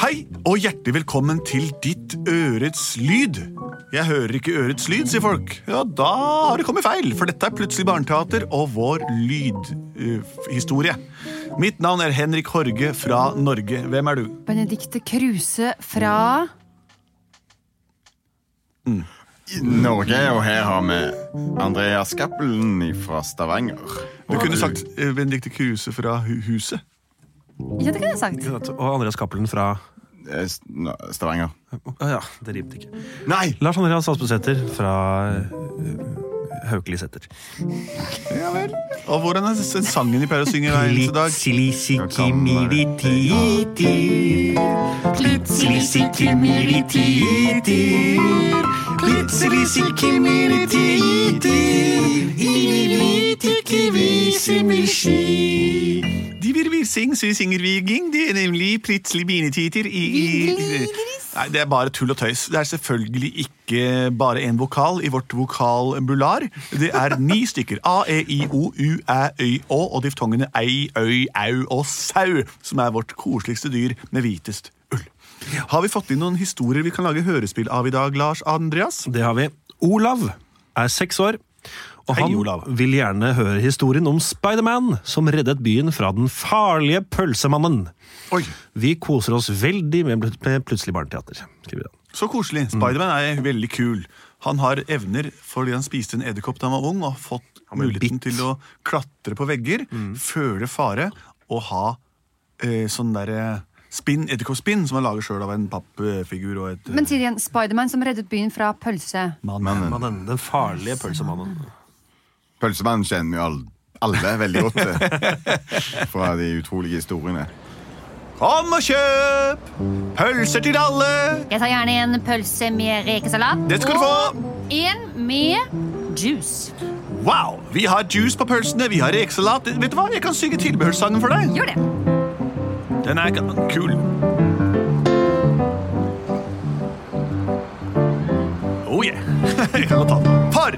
Hei, og hjertelig velkommen til ditt ørets lyd. Jeg hører ikke ørets lyd, sier folk. Ja, da har det kommet feil, for dette er plutselig barneteater og vår lydhistorie. Mitt navn er Henrik Horge fra Norge. Hvem er du? Benedicte Kruse fra i Norge, og her har vi Andreas Cappelen fra Stavanger. Du kunne sagt eh, Benedicte Kruse fra Hu- Huset. Ja, det kunne jeg sagt. Og Andreas Cappelen fra Eh, S- no, Stavanger. Å Ja, det rimte ikke. Nei! Lars Andreas Aspesæter fra eh, Haukelisæter. Ja vel. Og hvordan er s- sangen de pleier å synge hver eneste dag? De vil vi sing, så vi synger vi ging, de er nemlig plutselig binetiter i, i Nei, det er bare tull og tøys. Det er selvfølgelig ikke bare én vokal i vårt vokalbular. Det er ni stykker. A, E, I, O, U, Æ, Øy, Å og diftongene ei, øy, au og sau, som er vårt koseligste dyr med hvitest ull. Har vi fått inn noen historier vi kan lage hørespill av i dag, Lars Andreas? Det har vi. Olav er seks år. Og Hei, han Olav. vil gjerne høre historien om Spiderman som reddet byen fra den farlige pølsemannen. Oi, Vi koser oss veldig med, plut- med Plutselig barneteater. skriver han. Så koselig. Spiderman er veldig kul. Han har evner fordi han spiste en edderkopp da han var Mm. ung, og har fått ble muligheten bitt. til å klatre på vegger, føle fare og ha eh, sånn derre spinn, edderkoppspinn, som han lager sjøl av en pappfigur og et eh, Men sier igjen Spiderman som reddet byen fra pølse. mann. Mannen, den farlige pølsemannen. Pølsemannen kjenner jo alle, alle veldig godt til. Fra de utrolige historiene. Kom og kjøp pølser til alle! Jeg tar gjerne en pølse med rekesalat. Det skal du og få! En med juice. Wow! Vi har juice på pølsene, vi har rekesalat. Vet du hva? Jeg kan synge tilbehørssangen for deg. Gjør det. Den er ga- kul. Oh yeah. jeg kan godt ta den. For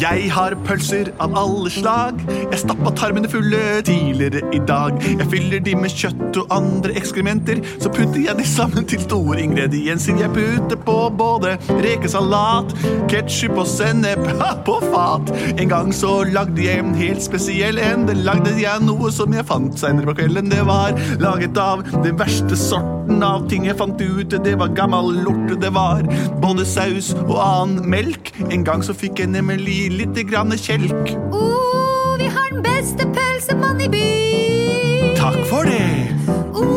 jeg har pølser av alle slag. Jeg stappa tarmene fulle tidligere i dag. Jeg fyller de med kjøtt og andre ekskrementer. Så putter jeg de sammen til store ingredienser. Jeg putter på både rekesalat, ketsjup og sennep ha, på fat. En gang så lagde jeg en helt spesiell en. Det lagde jeg noe som jeg fant seinere på kvelden. Det var laget av den verste sorten av ting jeg fant ut. Det var gammel lort, det var både saus og annen melk. En gang så fikk jeg nemlig lite grann kjelk. Å, Oh, vi har den beste pølsemannen i byen. Takk for det. Å,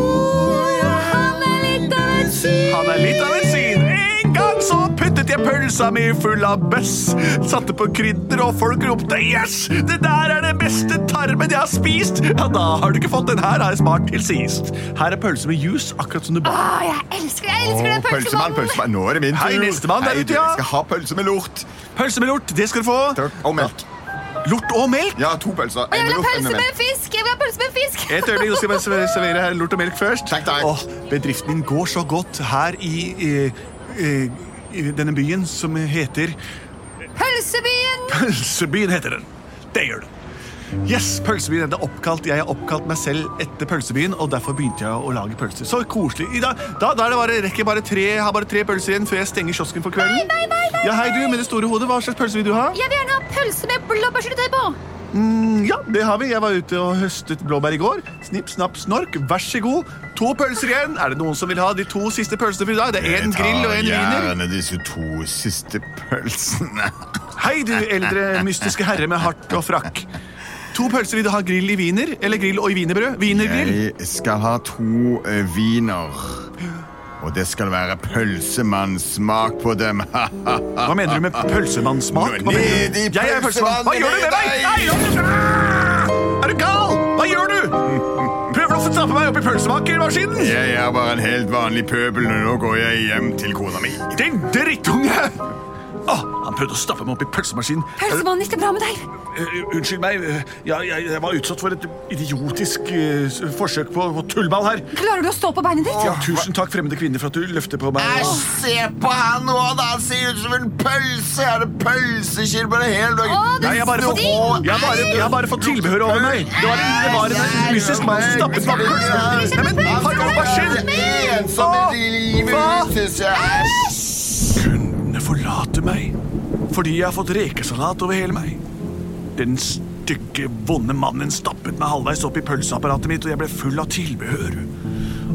han er litt av en syk. Han er litt av en syn. En gang så puttet jeg pølsa mi full av bøss. Satte på krydder, og folk ropte 'yes'! Det der er den beste tarmen jeg har spist! Ja, da har du ikke fått den her, har jeg smart til sist. Her er pølse med juice, akkurat som du ba. Å, jeg elsker, jeg elsker Å, den pølsemann, pølsemannen. pølsemann. Nå er det min tur. Hei, nestemann der Hei, ute, du, ja. Jeg skal ha pølse med lort. Pølse med lort, det skal du få. Og melk. Lort og melk. Ja, to pølser. Og En jeg vil med ha lort, en pølse med med melk. fisk. Jeg vil ha pølse med fisk. Et øyeblikk, nå skal jeg bare servere her lort og melk først. Takk, takk. Åh, bedriften min går så godt her i, eh, eh, i denne byen som heter Pølsebyen. Pølsebyen heter den. Det gjør den. Yes, pølsebyen er oppkalt. Jeg har oppkalt meg selv etter pølsebyen, og derfor begynte jeg å lage pølser. Så koselig. I dag, da, da er det bare, rekker jeg bare tre, har bare tre pølser igjen før jeg stenger kiosken for kvelden. Nei, nei, nei, nei, Ja, hei du med det store hodet. Hva slags pølse vil du ha? Jeg vil gjerne ha pølse med blåbærsyltetøy på. Mm, ja, det har vi. Jeg var ute og høstet blåbær i går. Snipp, snapp, snork. Vær så god. To pølser igjen. Er det noen som vil ha de to siste pølsene for i dag? Det er én grill og én wiener. Gjerne disse to siste pølsene. Hei, du eldre mystiske herre med hart og frakk. To pølser vil du ha grill i wiener eller grill og i wienerbrød? Wienergrill. Jeg skal ha to eh, viner. Og det skal være pølsemannssmak på dem. Hva mener du med pølsemannssmak? Hva mener Ned du? i Jeg er pølsemann. Hva gjør du med meg? Nei, hva gjør du? Ah! Er du gal? Hva gjør du? Prøver du å stappe meg opp i pølsemakermaskinen? Jeg er bare en helt vanlig pøbel, og nå går jeg hjem til kona mi. Din drittunge! Åh, han prøvde å stappe meg opp i pølsemaskinen. Pølsemann, gikk det bra med deg? Eh, unnskyld meg, eh, jeg, jeg, jeg var utsatt for et idiotisk eh, s- forsøk på, på tullball her. Klarer du å stå på beinet ditt? Ja, tusen takk, fremmede kvinne, for at du løfter på meg. se på han nå, da! Han ser ut som en pølse! Er det pølsekinn på det hele Å, du Nei, jeg har bare, fått- stinker! jeg har bare, jeg har bare fått tilbehør over meg. Det var en, det var en mystisk mann som stappet meg opp i pølsemaskinen. Nei, men, hallo, hva skjer? Hva? Hva? Kunne forlate meg fordi jeg har fått rekesalat over hele meg. Den stygge, vonde mannen stappet meg halvveis opp i pølseapparatet mitt, og jeg ble full av tilbehør.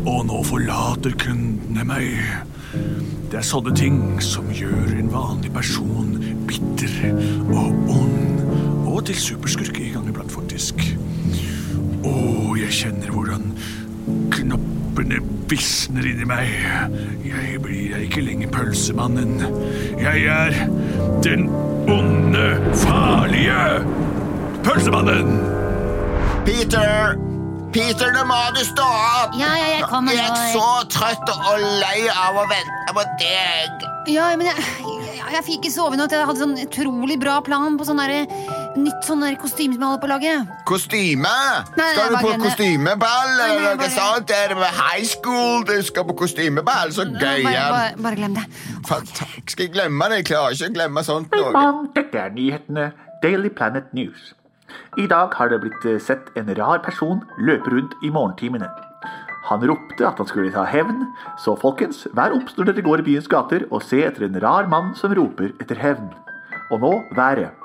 Og nå forlater kundene meg. Det er sånne ting som gjør en vanlig person bitter og ond. Og til superskurke i gang iblant, faktisk. Å, jeg kjenner hvordan knoppene visner inni meg. Jeg blir ikke lenger pølsemannen. Jeg er den onde, farlige pølsemannen. Peter! Peter, nå må du stå opp! Ja, ja, jeg kommer Jeg er nå. så trøtt og lei av å vente på deg. Ja, men jeg, jeg, jeg fikk ikke sove i natt. Jeg hadde sånn utrolig bra plan på sånn derre- nytt sånn derre kostyme som jeg holder på å lage. Kostyme? Nei, skal jeg du bare på glemmer. kostymeball Nei, eller nei, jeg noe bare- sånt? Er det med high school du skal på kostymeball? Så gøy. Bare, ja. bare, bare glem det. Fantastisk. Skal jeg glemme det? Jeg klarer ikke å glemme sånt noe. Dette er nyhetene Daily Planet News. I dag har det blitt eh, sett en rar person løpe rundt i morgentimene. Han ropte at han skulle ta hevn, så folkens, vær obs når dere går i byens gater og se etter en rar mann som roper etter hevn. Og nå været.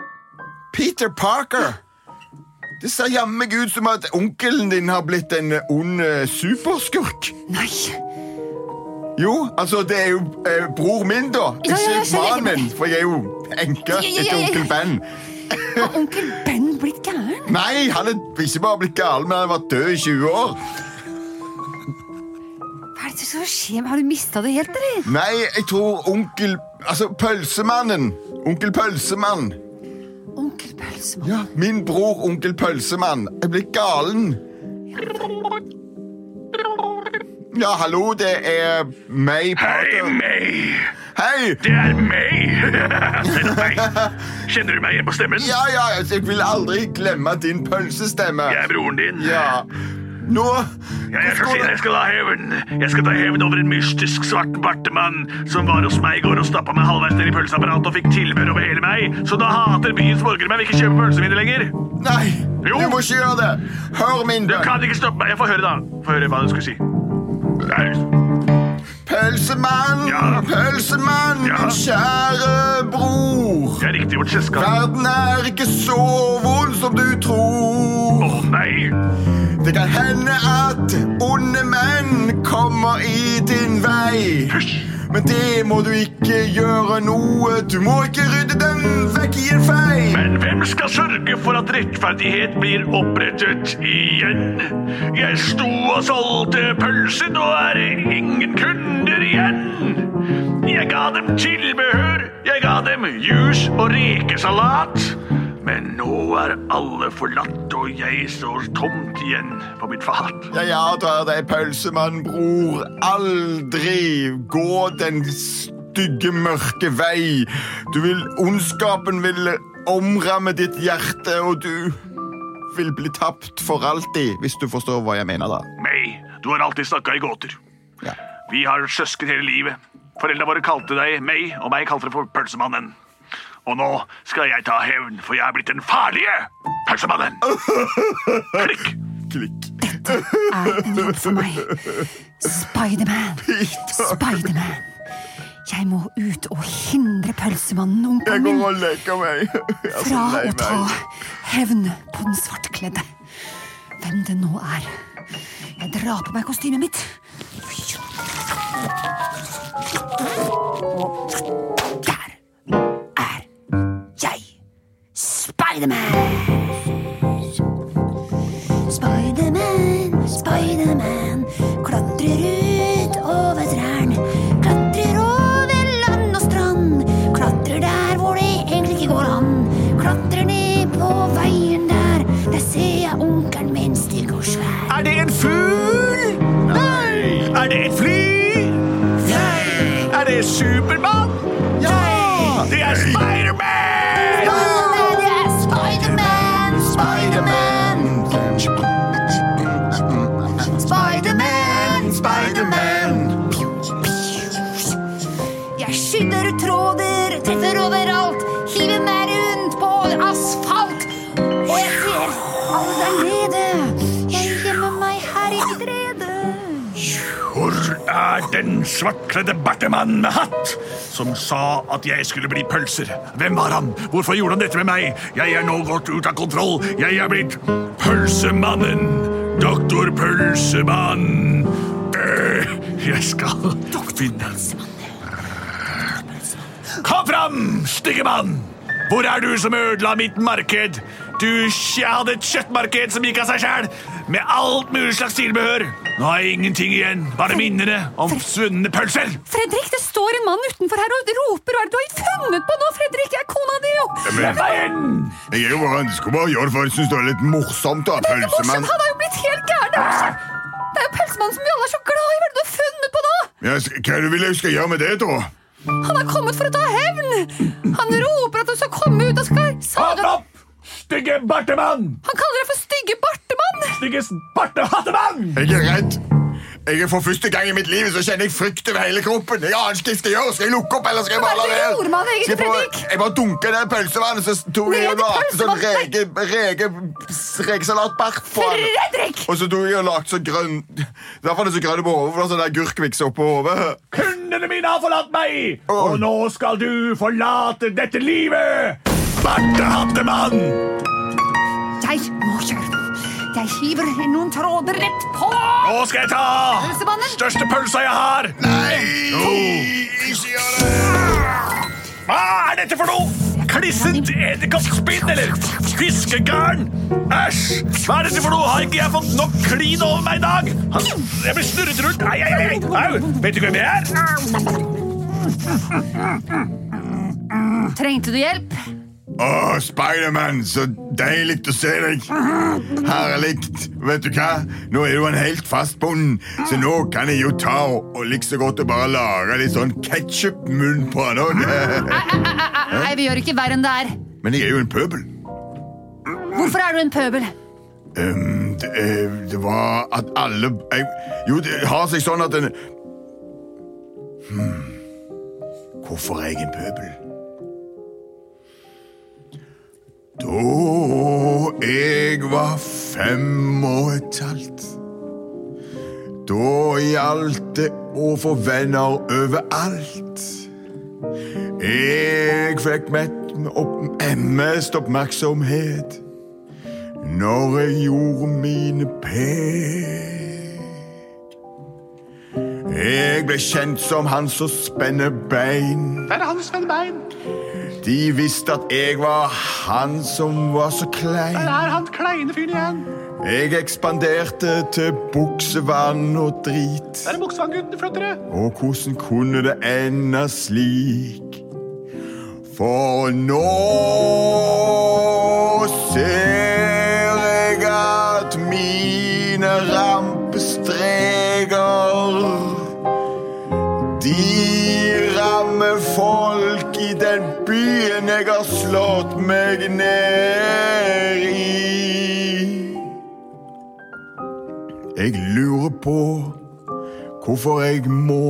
Peter Parker! Det ser jammen ut som at onkelen din har blitt en ond eh, superskurk. Nei! Jo, altså, det er jo eh, bror min, da. Ja, ja, jeg Ikke skjønner. mannen min, for jeg er jo enke Ja, ja, ja, etter ja. onkel Ben. Har onkel Ben blitt gæren? Nei, han er ikke bare blitt gal, men han har vært død i 20 år. Hva er det som skjer? Har du mista det helt, eller? Nei, jeg tror onkel Altså, pølsemannen. Onkel Pølsemann. Onkel Pølsemann. Ja, min bror onkel Pølsemann. Jeg ble galen. Ja, hallo, det er meg, Parker. Hei! Det er meg! Det er meg. Kjenner du meg igjen på stemmen? Ja, ja, jeg vil aldri glemme din pølsestemme. Jeg er broren din. Ja. Nå Ja, jeg skal si deg, jeg skal ta hevn. Jeg skal ta hevn over en mystisk svart bartemann som var hos meg i går og stappa meg halvveis ned i pølseapparatet og fikk tilbehør over hele meg. Så da hater byens borgere meg. Vil ikke kjøpe pølsene mine lenger. Nei, Jo. du må ikke gjøre det. Hør min Du bønn. kan ikke stoppe meg. Jeg får høre, da. Få høre hva du skulle si. Nei, Pølsemann, Ja. pølsemann, Ja. min kjære bror. Det er riktig vårt selskap. Verden er ikke så vond som du tror. Å nei! Det kan hende at onde menn kommer i din vei. Hysj! Men det må du ikke gjøre noe. Du må ikke rydde den vekk i en fei. Men hvem skal sørge for at rettferdighet blir opprettet igjen? Jeg sto og solgte pølser, nå er det ingen kunder igjen. Jeg ga dem tilbehør, jeg ga dem juice og rekesalat. Men nå er alle forlatt, og jeg står tomt igjen på mitt fat. Jeg advarer deg, pølsemann, bror. Aldri gå den stygge, mørke vei. Du vil, ondskapen vil omramme ditt hjerte, og du vil bli tapt for alltid. Hvis du forstår hva jeg mener, da. May, du har alltid snakka i gåter. Ja. Vi har søsken hele livet. Foreldra våre kalte deg May, og meg kalte deg for Pølsemannen. Og nå skal jeg ta hevn, for jeg er blitt den farlige pølsemannen. Klikk! Klikk. er en jobb for meg. Spiderman. Spiderman. Jeg må ut og hindre pølsemannen, Jeg onkelen går min, og leker meg. Jeg er så fra lei å ta meg. hevn på den svartkledde. Hvem det nå er. Jeg drar på meg kostymet mitt. Og der er jeg. Spiderman! Spiderman, Spiderman klatrer ut over trærne. Klatrer over land og strand. Klatrer der hvor det egentlig ikke går an. Klatrer ned på veien der. Der ser jeg onkelen min stygg og svær. Er det en fugl? Nei. Er det et fly? Nei. Er det Supermann? Ja. Det er Spiderman! Spiderman, det er Spiderman, Spiderman. Spiderman, Jeg skynder tråder, treffer overalt, hiver meg rundt på asfalt. Og jeg ser alle der nede. Jeg gjemmer meg her i treet. Hvor er den svartkledde bertemannen med hatt som sa at jeg skulle bli pølser? Hvem var han? Hvorfor gjorde han dette med meg? Jeg er nå gått ut av kontroll. Jeg er blitt pølsemannen. Doktor Pølsemann. Øh, Jeg skal finne Kom fram, stygge mann! Hvor er du som ødela mitt marked? Du, Jeg hadde et kjøttmarked som gikk av seg sjæl, med alt mulig slags tilbehør. Nå har jeg ingenting igjen, bare minnene om svunne pølser. Fredrik, det står en mann utenfor her og roper. Hva er det du har funnet på nå, Fredrik? Det er kona di, jo. Slipp meg inn! Jeg er jo bare, skulle bare gjøre det, for jeg syns det er litt morsomt. da, Det er morsomt, pølsemann. han er jo blitt helt gæren. Det er jo så- Det er jo pelsmannen som vi alle er så glad i. Hva er det du har funnet på nå? Ja, s- hva er det du vil jeg skal gjøre med det, da? Han er kommet for å ta hevn! Han roper at du skal komme ut og skal Hold sage opp! Stygge bartemann! Han kaller deg for stygge bartemann! Stygge bartehattemann! Jeg er redd. Jeg er For første gang i mitt liv så kjenner jeg frykt over hele kroppen. Jeg aner ikke hva jeg skal gjøre. Skal jeg lukke opp, eller skal jeg Hva er bare det la du være? gjorde med han, egentlig, Skal jeg bare- Fredrik? Jeg bare dunker det pølsevannet, så tok jeg Ned og i lagde sånn pølsevannet. reke, reke, rekesalatbart på han. Fredrik! Og så tok jeg og lagde så grønn Derfor er det så grønn på hodet, for det er sånn agurkviks oppå hodet. Kundene mine har forlatt meg, og nå skal du forlate dette livet! Bartehattemann! Jeg må kjøre. Jeg hiver noen tråder rett på! Nå skal jeg ta Pølsemannen? største pølsa jeg har! Nei! Ikke gjør det! Hva Ah, er dette for noe? eh, Klissent edderkoppspinn, eller? Fiskegarn? Æsj! Hva er dette for noe? Har ikke jeg fått nok klin over meg i dag? Han, jeg blir snurret rundt. Ai, ai, ai, ai. Au! Vet du hvem jeg er? Trengte du hjelp? Å, Spiderman, så deilig å se deg. Herlig. Vet du hva? Nå er du en helt fast bond, så nå kan jeg jo ta og, og like så godt og bare lage litt sånn ketsjup-munn på han òg. Nei, vi gjør ikke verre enn det er. Men jeg er jo en pøbel. Hvorfor er du en pøbel? Ehm, det, eh, det var at alle jeg, Jo, det har seg sånn at en hmm, Hvorfor er jeg en pøbel? Da jeg var fem og et halvt Da gjaldt det å få venner overalt. Jeg fikk mett opp, mest oppmerksomhet når jeg gjorde mine pek. Jeg ble kjent som han som spenner bein. Det er han Sven Bein. De visste at jeg var han som var så klein. er han kleine fyren igjen. Jeg ekspanderte til buksevann og drit. er Buksvanngutten, flottere. Og hvordan kunne det ende slik? For nå ser jeg at mine rampestreker De rammer folk i den byen jeg har slått meg ned i. Jeg lurer på hvorfor jeg må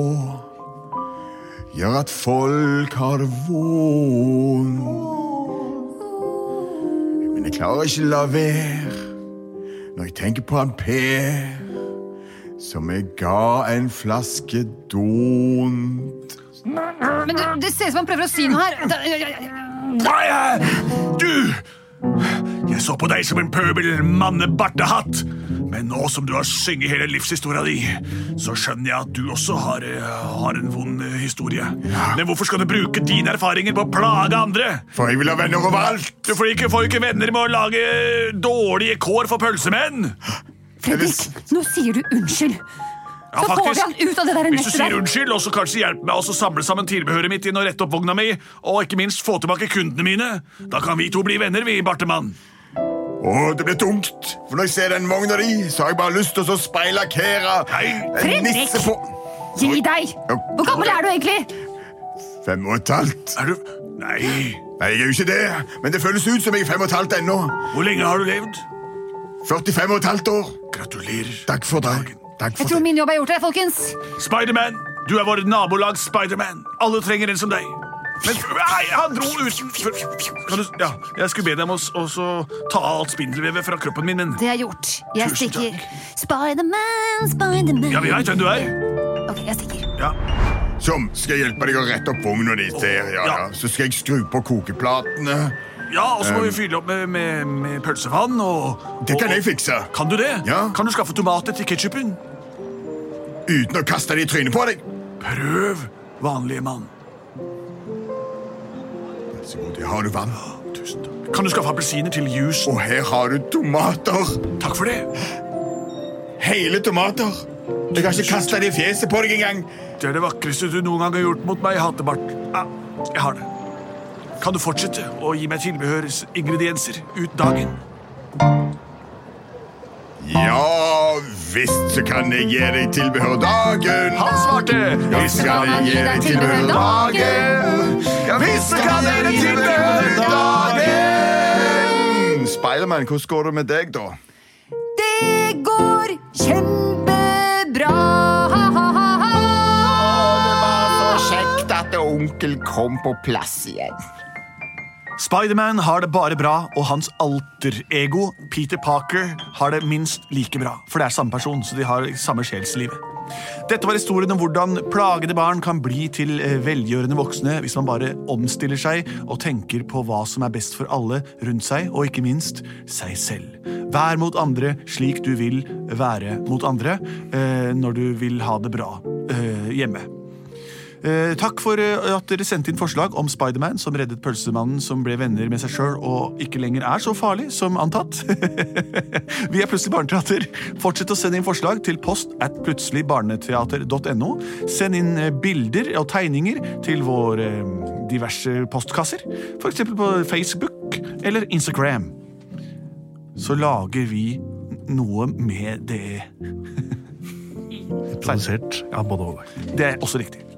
gjøre at folk har det vondt. Men jeg klarer ikke la være når jeg tenker på han Per, som jeg ga en flaske dont. Men det, det ser ut som han prøver å si noe her. Da- Nei, eh, du! Jeg så på deg som en pøbel mannebartehatt. Men nå som du har synget hele livshistoria di, så skjønner jeg at du også har, eh, har en vond eh, historie. Men hvorfor skal du bruke dine erfaringer på å plage andre? For jeg vil ha venner overalt. Du får ikke, får ikke venner med å lage dårlige kår for pølsemenn. Fredrik, nå sier du unnskyld. Ja, Så får vi han ut av det der Hvis du nettet sier der. unnskyld, og så kanskje hjelper meg å samle sammen tilbehøret mitt inn og rette opp vogna mi, og ikke minst få tilbake kundene mine, da kan vi to bli venner, vi, Bartemann. Å, det blir tungt. For når jeg ser den vogna di, så har jeg bare lyst til å speilakkere Nei. en Fredrik! nisse på Gi deg! Hvor gammel er du egentlig? Fem og et halvt. Er du Nei. Nei, jeg er jo ikke det, men det føles ut som jeg er fem og et halvt ennå. Hvor lenge har du levd? 45 og et halvt år. Gratulerer. Takk for dagen. Takk Jeg for tror det. min jobb er gjort, jeg, folkens. Spiderman, du er vårt nabolag Spiderman. Alle trenger en som deg. Men nei, han dro uten kan du, ja, Jeg skulle be dem om å så ta av alt spindelvevet fra kroppen min, men Det er gjort. Jeg Tusen stikker. Spiderman, Spiderman. ja, vi veit hvem du er. Ok, jeg stikker. Ja. Sånn, skal jeg hjelpe deg å rette opp vogna di der, ja, ja. Ja. Så skal jeg skru på kokeplatene. Ja, og så må vi fylle opp med, med, med pølsevann og Det og- kan jeg fikse. Kan du det? Ja. Kan du skaffe tomater til ketsjupen? Uten å kaste det i trynet på deg. Prøv, vanlige mann. Vær så god, her har du vann. Tusen takk. Kan du skaffe appelsiner til juicen? Og her har du tomater. Takk for det. Hele tomater. Jeg har ikke kasta det i fjeset på deg engang. Det er det vakreste du noen gang har gjort mot meg, Hattebart. Ah, jeg har det. Kan du fortsette å gi meg tilbehørsingredienser ut dagen? Ja visst så kan jeg gi deg tilbehør dagen. Han svarte! Ja, visst kan jeg gi deg tilbehør dagen. Ja visst kan dere tilhøre dagen! Spiderman, hvordan går det med deg, da? Det går kjempebra. Ha, ha, ha, ha. Kjekt at onkel kom på plass igjen. Spiderman har det bare bra, og hans alterego, Peter Parker, har det minst like bra. For det er samme person, så de har samme sjelslivet. Dette var historien om hvordan plagede barn kan bli til eh, velgjørende voksne hvis man bare omstiller seg og tenker på hva som er best for alle rundt seg, og ikke minst seg selv. Vær mot andre slik du vil være mot andre eh, når du vil ha det bra eh, hjemme. Eh, takk for eh, at dere sendte inn forslag om Spiderman som reddet pølsemannen som ble venner med seg sjøl og ikke lenger er så farlig som antatt. Vi er Plutselig barneteater. Fortsett å sende inn forslag til post at plutseligbarneteater.no. Send inn eh, bilder og tegninger til våre eh, diverse postkasser, f.eks. på Facebook eller Instagram. Så lager vi n- noe med det. Produsert av både og. Det er også riktig.